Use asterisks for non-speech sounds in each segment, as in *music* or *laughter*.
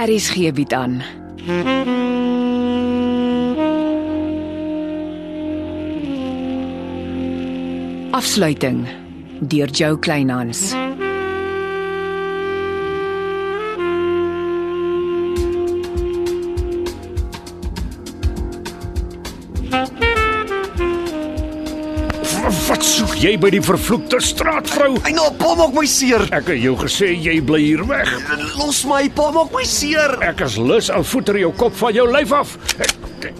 RSG bied Er aan. Afsluiting deur Jo Kleinhans. Wat soek jy by die vervloekte straatvrou? Hy nou pa maak my seer. Ek het jou gesê jy bly hier weg. Los my, pa maak my seer. Ek is lus aan voeter jou kop van jou lyf af.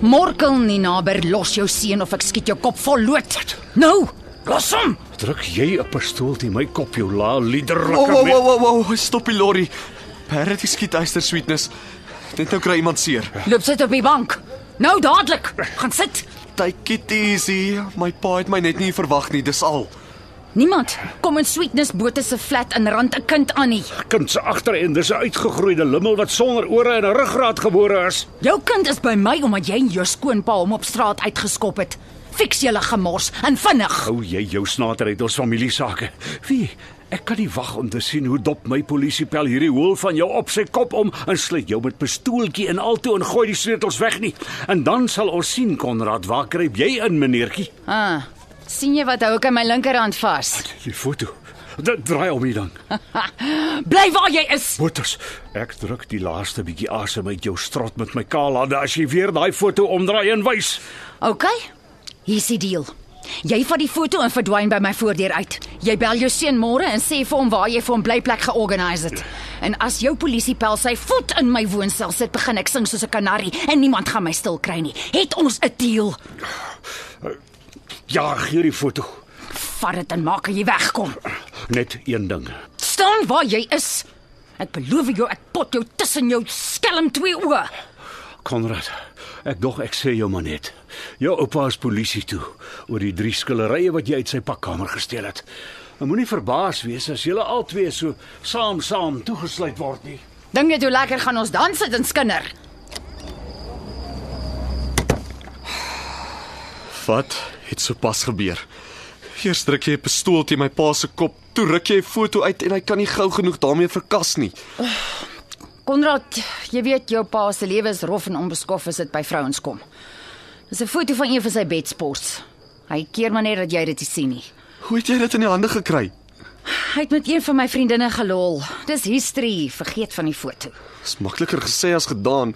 Morkel nie naber, los jou seun of ek skiet jou kop vol lood. Nou, los hom. Druk jy 'n pistool teen my kop, jou la Wow, liederlike Oh, wow, me- wow, wow, wow, stop die lorry. Parrot geskiet eyster sweetness. Net nou kry iemand seer. Loop sit op die bank. Nou dadelik. Gaan sit. Take it easy. My pa het my net nie verwag nie, dis al. Niemand kom in Sweetness Botha se flat in Rand 'n kind aan nie. Kind se agterend is 'n uitgegroeide limmel wat sonder ore en 'n ruggraat gebore is. Jou kind is by my omdat jy en jou skoonpa hom op straat uitgeskop het. Fiks julle gemors en vinnig. Hou jy jou snater uit ons familie sake? Wie? Ek kan nie wag om te sien hoe dop my polisiepel hierdie hoel van jou op sy kop om en sluit jou met pistooltjie en altoe en gooi die sleutels weg nie. En dan sal ons sien Konrad, waar kruip jy in, meneertjie? Ah, sien jy wat hou ek aan my linkerhand vas? Die foto. Da, draai om hier dan. Bly waar jy is. Botters, ek druk die laaste bietjie asem uit jou strot met my kaalhande as jy weer daai foto omdraai en wys. OK. Hier's die deal. Jy vat die foto en verdwyn by my voordeur uit. Jy bel jou seun môre en sê vir hom waar jy vir hom blyplek georganiseer het. En as jou polisiepel sy voet in my woonstel sit, begin ek sing soos 'n kanarie en niemand gaan my stil kry nie. Het ons 'n deal? Ja, gee die foto. Vat dit en maak dat jy wegkom. Net een ding. Staan waar jy is. Ek beloof jou ek pot jou tussen jou skelm twee oë. Konrad, ek dog ek sê jou maar net. Jou oupa is polisie toe oor die drie skillerye wat jy uit sy pakkamer gesteel het. En moenie verbaas wees as julle albei so saam saam toegesluit word nie. Dink jy hoe lekker gaan ons dan sit en skinder? Wat het sopas gebeur? Eers druk jy 'n pistool teen my pa se kop, toe ruk jy 'n foto uit en hy kan nie gou genoeg daarmee verkas nie. Konrad, jy weet jou pa se lewe is rof en onbeskof as dit by vrouens kom. Dis 'n foto van een van sy bedspors. Hy keer maar net dat jy dit nie sien nie. Hoe het jy dit in die hande gekry? Hy het met een van my vriendinne gelol. Dis history, vergeet van die foto. Dis makliker gesê as gedaan.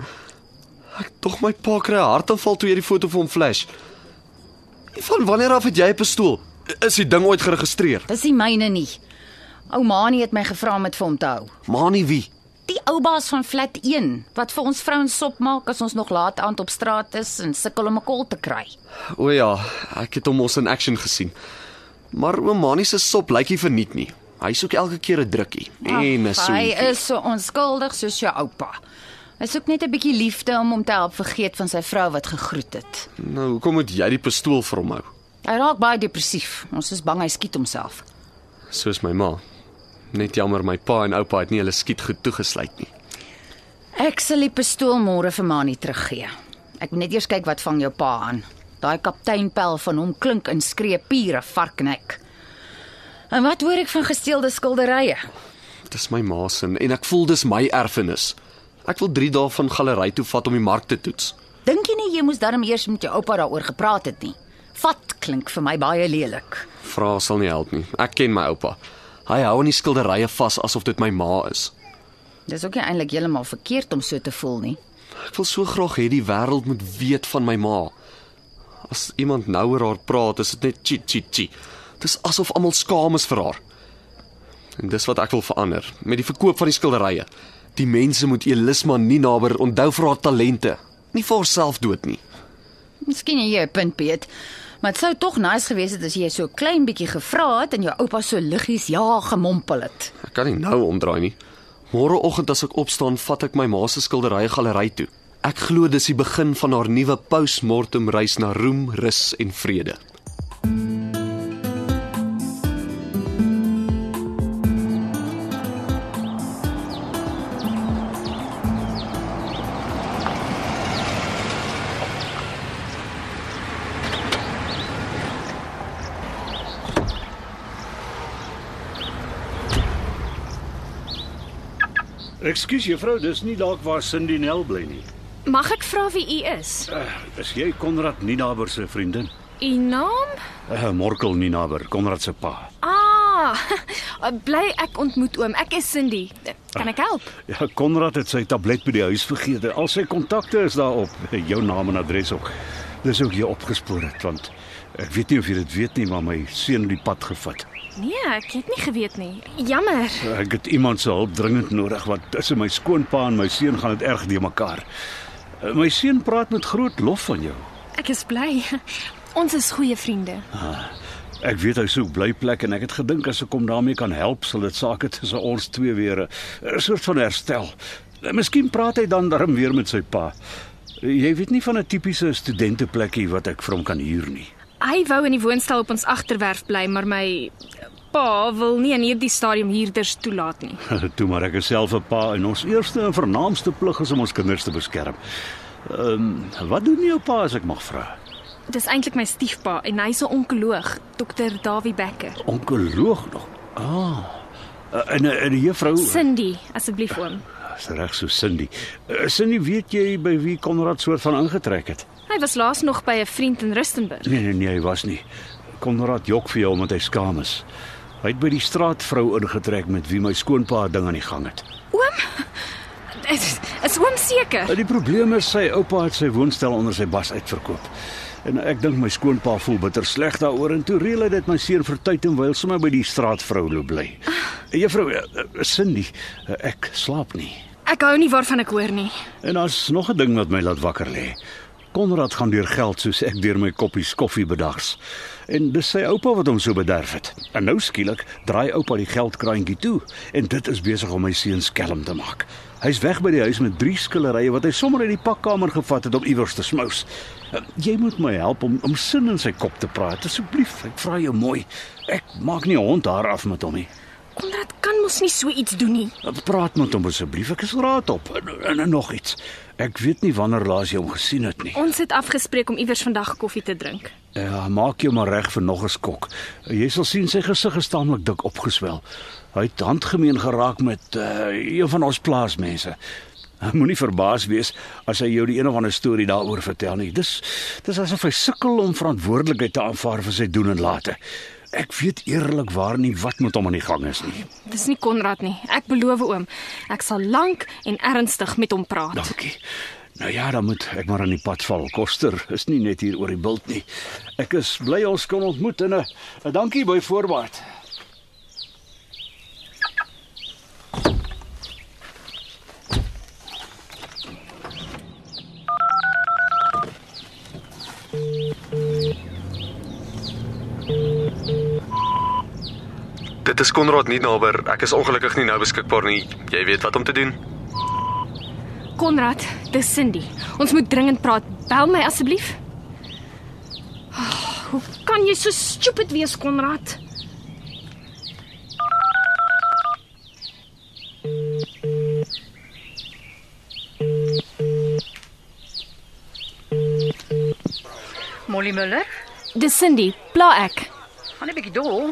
Ek tog my pa kry 'n hartaanval toe jy die foto vir hom flash. Van wanneer af het jy 'n pistool? Is die ding ooit geregistreer? Dis nie myne nie. Ouma nie het my gevra om dit vir hom te hou. Maar nie wie. Die ou baas van flat 1 wat vir ons vrouens sop maak as ons nog laat aand op straat is en sukkel om 'n kol te kry. O ja, ek het hom mos in action gesien. Maar oom Mani se sop lyk nie verniet nie. Hy soek elke keer 'n drukkie en 'n Ag, Hy soentjie. is so onskuldig soos jou oupa. Hy soek net 'n bietjie liefde om hom te help vergeet van sy vrou wat gegroet het. Nou, hoekom moet jy die pistool vir hom hou? Hy raak baie depressief. Ons is bang hy skiet homself. Soos my ma. Net jammer my pa en oupa het nie hulle skiet goed toegesluit nie. Ek sal die pistool môre vir Mani teruggee. Ek moet net eers kyk wat vang jou pa aan. Daai kapteinpel van hom klink en skree pure varknek. En wat hoor ek van gesteelde skilderye? Dis my ma se en ek voel dis my erfenis. Ek wil 3 dae van galery toe vat om die mark te toets. Dink jy nie jy moes darm eers met jou oupa daaroor gepraat het nie? Vat klink vir my baie lelik. Vra sal nie help nie. Ek ken my oupa. Hy hou aan die skilderye vas asof dit my ma is. Dis ook nie eintlik heeltemal verkeerd om so te voel nie. Ek wil so graag hê die wêreld moet weet van my ma. As iemand nou oor haar praat, is dit net chi chi chi. Dis asof almal skaam is vir haar. En dis wat ek wil verander met die verkoop van die skilderye. Die mense moet Elisma nie nader onthou vir haar talente, nie vir haarself dood nie. Miskien het jy 'n punt, Piet. Maar dit sou tog nice gewees het as jy so klein bietjie gevra het en jou oupa so liggies ja gemompel het. Ek kan nie nou omdraai nie. Môreoggend as ek opstaan, vat ek my ma se skilderye galery toe. Ek glo dis die begin van haar nuwe postmortem reis na roem, rus en vrede. Ekskuus juffrou, dis nie dalk waar Cindy Nel bly nie. Mag ek vra wie u is? Uh, is jy Konrad Ninaber se vriendin? U naam? Uh, Morkel Ninaber, Konrad se pa. Ah, *laughs* bly ek ontmoet oom. Ek is Cindy. Kan ek help? Ja, Konrad het sy tablet by die huis vergeet. Al sy kontakte is daarop, jou naam en adres ook. Dis ook hier opgespoor het want ek weet nie of jy dit weet nie, maar my seun het die pad gevat. Nee, ek het nie geweet nie. Jammer. Ek het iemand se hulp dringend nodig want tussen my skoonpa en my seun gaan dit erg de mekaar. Eh, My seun praat met groot lof van jou. Ek is bly. *laughs* Ons is goeie vriende. Ah, Ek weet hy soek blyplek en ek het gedink as ek hom daarmee kan help, sal dit sake tussen ons twee weer 'n- 'n soort van herstel. Miskien praat hy dan darm weer met sy pa. Jy weet nie van 'n tipiese studenteplekkie wat ek vir hom kan huur nie. *laughs* Hy wou in die woonstel op ons agterwerf bly, maar my pa wil nie in hierdie stadium huurders toelaat nie. Toe maar ek is self 'n pa en ons eerste en vernaamste plig is om ons kinders te beskerm. Ehm um, wat doen jou pa as ek mag vra? Dis eintlik my stiefpa en hy's 'n onkoloog, dokter Dawie Becker. Onkoloog nog. Ah. En 'n- en 'n juffrou Cindy, asseblief oom. Dis reg so Cindy. Eh, Cindy, weet jy by wie Konrad soort van ingetrek het? Hy was laas nog by 'n vriend in Rustenburg. *laughs* Nee nee nee, hy was nie. Konrad jok vir jou omdat hy skaam is. Hy het by die straatvrou ingetrek met wie my skoonpa 'n ding aan die gang het. Oom? Is, is oom seker? En Eh, die probleem is sy oupa het sy woonstel onder sy bas uitverkoop. En ek dink my skoonpa voel bitter sleg daaroor en toe reël hy dit my seun vir tyd en wyl sommer by die straatvrou loop bly. Juffrou eh, eh, Cindy, eh, ek slaap nie. Ek hou nie waarvan ek hoor nie. En daar's nog 'n ding wat my laat wakker lê. Konrad gaan deur geld soos ek deur my koppies koffie bedags. En dis sy oupa wat hom so bederf het. En nou skielik draai oupa die geldkraantjie toe en dit is besig om my seun skelm te maak. Hy's weg by die huis met drie skillerye wat hy sommer uit die pakkamer gevat het om iewers te smous. Eh, Jy moet my help om om sin in sy kop te praat asseblief. Ek vra jou mooi. Ek maak nie 'n hond haar af met hom nie. Konrad kan mos nie so iets doen nie. Praat met hom asseblief. Ek is raad op. En, en, en nog iets. Ek weet nie wanneer laas jy hom gesien het nie. Ons het afgespreek om iewers vandag koffie te drink. Ja, maak jou maar reg vir nog 'n skok. Jy sal sien sy gesig is taamlik dik opgeswel. Hy het handgemeen geraak met uh, een van ons plaasmense. Moenie verbaas wees as hy jou die een of ander storie daaroor vertel nie. Dis dis asof hy sukkel om verantwoordelikheid te aanvaar vir sy doen en late. Ek weet eerlikwaar nie wat met hom aan die gang is nie. Dis nie Konrad nie. Ek beloof oom, ek sal lank en ernstig met hom praat. Dankie. Nou ja, dan moet ek maar aan die pad val. Koster is nie net hier oor die bult nie. Ek is bly ons kon ontmoet en 'n uh, dankie by voorbaat. Dit is Konrad nie naby. Ek is ongelukkig nie nou beskikbaar nie. Jy weet wat om te doen. Konrad, dis Cindy. Ons moet dringend praat. Bel my asseblief. Oh, hoe kan jy so stupid wees, Konrad? Molly Müller, Dis Cindy. Pla ek. gaan 'n bietjie dol.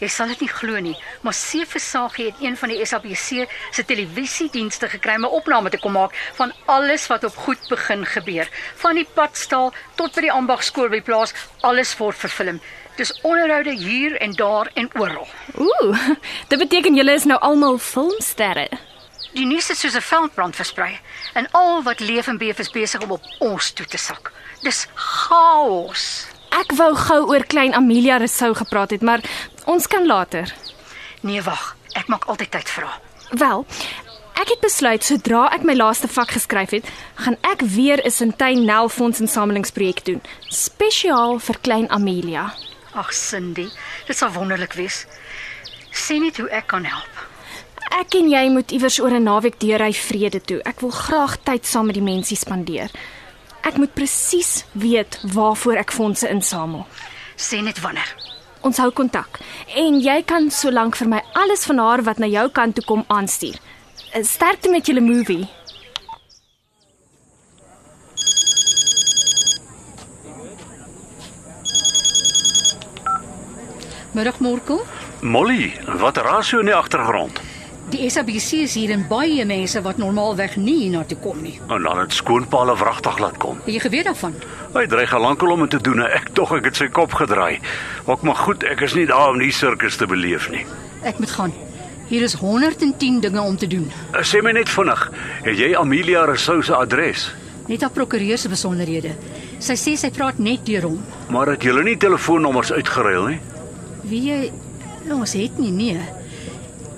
Jy sal dit nie glo nie, maar Seef Versaagie het een van die SABC se televisiedienste gekry om 'n opname te kom maak van alles wat op goed begin gebeur. Van die padstal tot by die ambagskool by die plaas, alles word verfilm. Dis onderhoude hier en daar en oral. Ooh, *laughs* dit beteken julle is nou almal filmsterre. Die nuus is soos 'n veldbrand versprei en al wat leef en beef is besig om op ons toe te sak. Dis chaos. Ek wou gou oor klein Amelia Rousseau gepraat het, maar ons kan later. Nee, wag. Ek maak altyd tyd vir haar. Wel, ek het besluit sodra ek my laaste vak geskryf het, gaan ek weer 'n Sintyn Nelfonds insamelingsprojek doen, spesiaal vir klein Amelia. Ag Cindy, dit sal wonderlik wees. Sien net hoe ek kan help. Ek en jy moet iewers oor 'n naweek deurry vrede toe. Ek wil graag tyd saam met die mensie spandeer. Ek moet presies weet waarvoor ek fondse insamel. Sien net wanneer. Ons hou kontak en jy kan solank vir my alles van haar wat na jou kant toe kom aanstuur. Sterkte met julle movie. Middag Morkel. Molly, wat raas jy in die agtergrond? Die SABC is hier en baie mense wat normaalweg nie hiernatoe kom nie. En Oh, laat dit skoonpaal wragtig laat kom. Het jy geweet daarvan? Hy dreig al lankal om dit te doen en ek tog ek het sy kop gedraai. Ook maar goed, ek is nie daar om die sirkus te beleef nie. Ek moet gaan. Hier is 110 dinge om te doen. Eh, Sê my net vinnig, het jy Amelia Rousseau se adres? Net haar prokureur se besonderhede. Sy sê sy praat net deur hom. Maar het julle nie telefoonnommers uitgeruil nie? Wie jy ons het nie nee.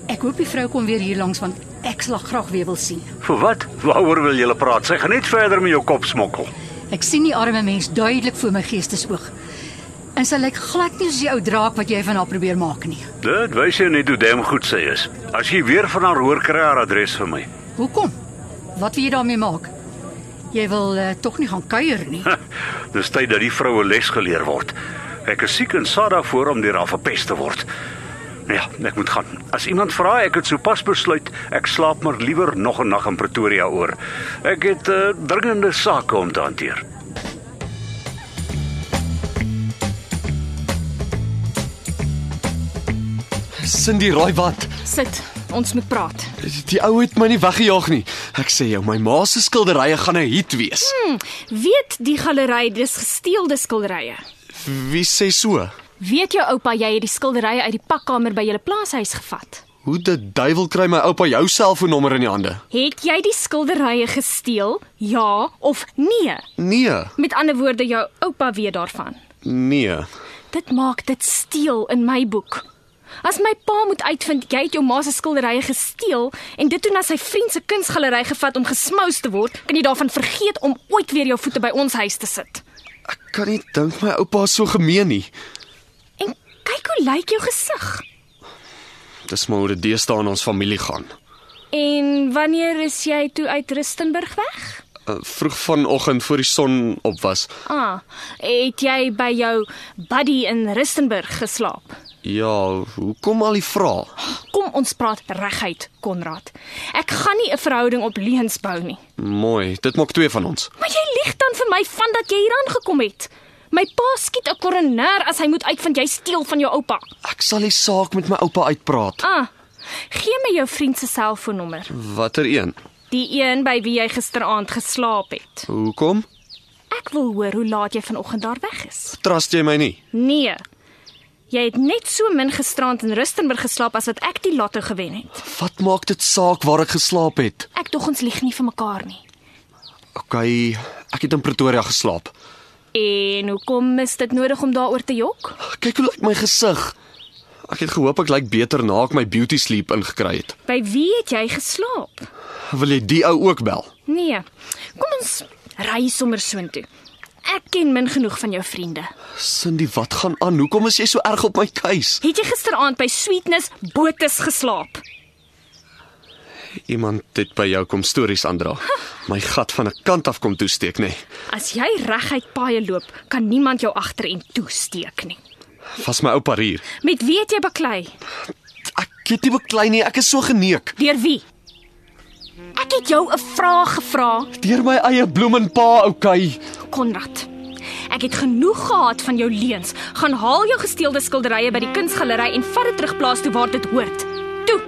Ek hoop die vrou kom weer hier langs want ek sal haar graag weer wil sien. Vir wat? Waaroor wil julle praat? Sy gaan net verder met jou kop smokkel. Ek sien die arme mens duidelik voor my geestesoog. En sy lyk glad nie soos die ou draak wat jy van haar probeer maak nie. Dit wys jou net hoe dam goed sy is. As jy weer van haar hoor, kry haar adres vir my. *laughs* Hoekom? Wat wil jy daarmee maak? Jy wil uh, tog nie gaan kuier nie. Dis tyd dat die vroue les geleer word. Ek is siek en sad daarvoor om deur haar verpest te word. Ja, ek moet gaan. As iemand vra, ek het sopas besluit ek slaap maar liewer nog 'n nag in Pretoria oor. Ek het uh, dringende sake om te hanteer. Cindy, raai wat? Sit, ons moet praat. Die ou het my nie weggejaag nie. Ek sê jou, my ma se skilderye gaan 'n hit wees. Weet die galery dis gesteelde skilderye? Wie sê so? Weet jou oupa jy het die skilderye uit die pakkamer by julle plaashuis gevat? Hoe die duiwel kry my oupa jou selfoonnommer in die hande? Het jy die skilderye gesteel? Ja of nee? Nee, Met ander woorde, jou oupa weet daarvan. nee. Dit maak dit steel in my boek. As my pa moet uitvind jy het jou ma se skilderye gesteel en dit toe na sy vriend se kunsgalery gevat om gesmous te word, kan jy daarvan vergeet om ooit weer jou voete by ons huis te sit. Ek kan nie dink my oupa is so gemeen nie. En kyk hoe lyk jou gesig. Dis maar hoe dit deesdae in ons familie gaan. En wanneer is jy toe uit Rustenburg weg? Uh, vroeg vanoggend voor die son op was. Ah, het jy by jou buddy in Rustenburg geslaap? Ja, hoekom al die vrae? Kom ons praat reguit, Konrad. Ek gaan nie 'n verhouding op leuns bou nie. Mooi, dit maak twee van ons. Maar jy lieg dan vir my van dat jy hier aangekom het. My pa skiet 'n koroner as hy moet uitvind jy steel van jou oupa. Ek sal die saak met my oupa uitpraat. Ah. Gee my jou vriend se selfoonnommer, Watter een? die een by wie jy gisteraand geslaap het. Hoekom? Ek wil hoor hoe laat jy vanoggend daar weg is. Trust jy my nie? Nee. Jy het net so min gisterand in Rustenburg geslaap as wat ek die lotto gewen het. Wat maak dit saak waar ek geslaap het? Ek dog ons lieg nie vir mekaar nie. OK, ek het in Pretoria geslaap. En hoekom is dit nodig om daaroor te jok? Kyk hoe lyk my gesig. Ek het gehoop ek lyk beter na ek my beauty sleep ingekry het. By wie het jy geslaap? Wil jy die ou ook bel? Nee. Kom ons ry sommer soontoe. Ek ken min genoeg van jou vriende. Cindy, wat gaan aan? Hoekom is jy so erg op my keus? Het jy gisteraand by Sweetness Botus geslaap? Iemand het by jou kom stories *laughs* aandra. My gat van 'n kant af kom toesteek, nê. Nee. As jy reguit paaie loop, kan niemand jou agter en toesteek nie. Was my oupa hier. Met wie het jy baklei? Ek het nie beklei nie, ek is so geneek. Deur wie? Ek het jou 'n vraag gevra, Deur my eie bloemenpa, okay. Konrad. Ek het genoeg gehad van jou leuns. Gaan haal jou gesteelde skilderye by die kunsgalery en vat dit terugplaas toe waar dit hoort. Toe,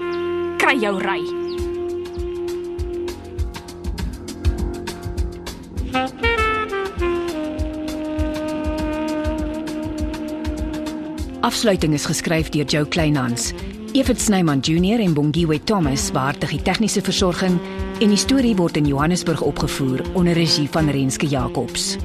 kry jou ry. Afsluiting is geskryf deur Jo Kleinhans. Evit Snyman Junior en Bongwe Thomas beheer die tegniese versorging en die storie word in Johannesburg opgevoer onder regie van Renske Jacobs.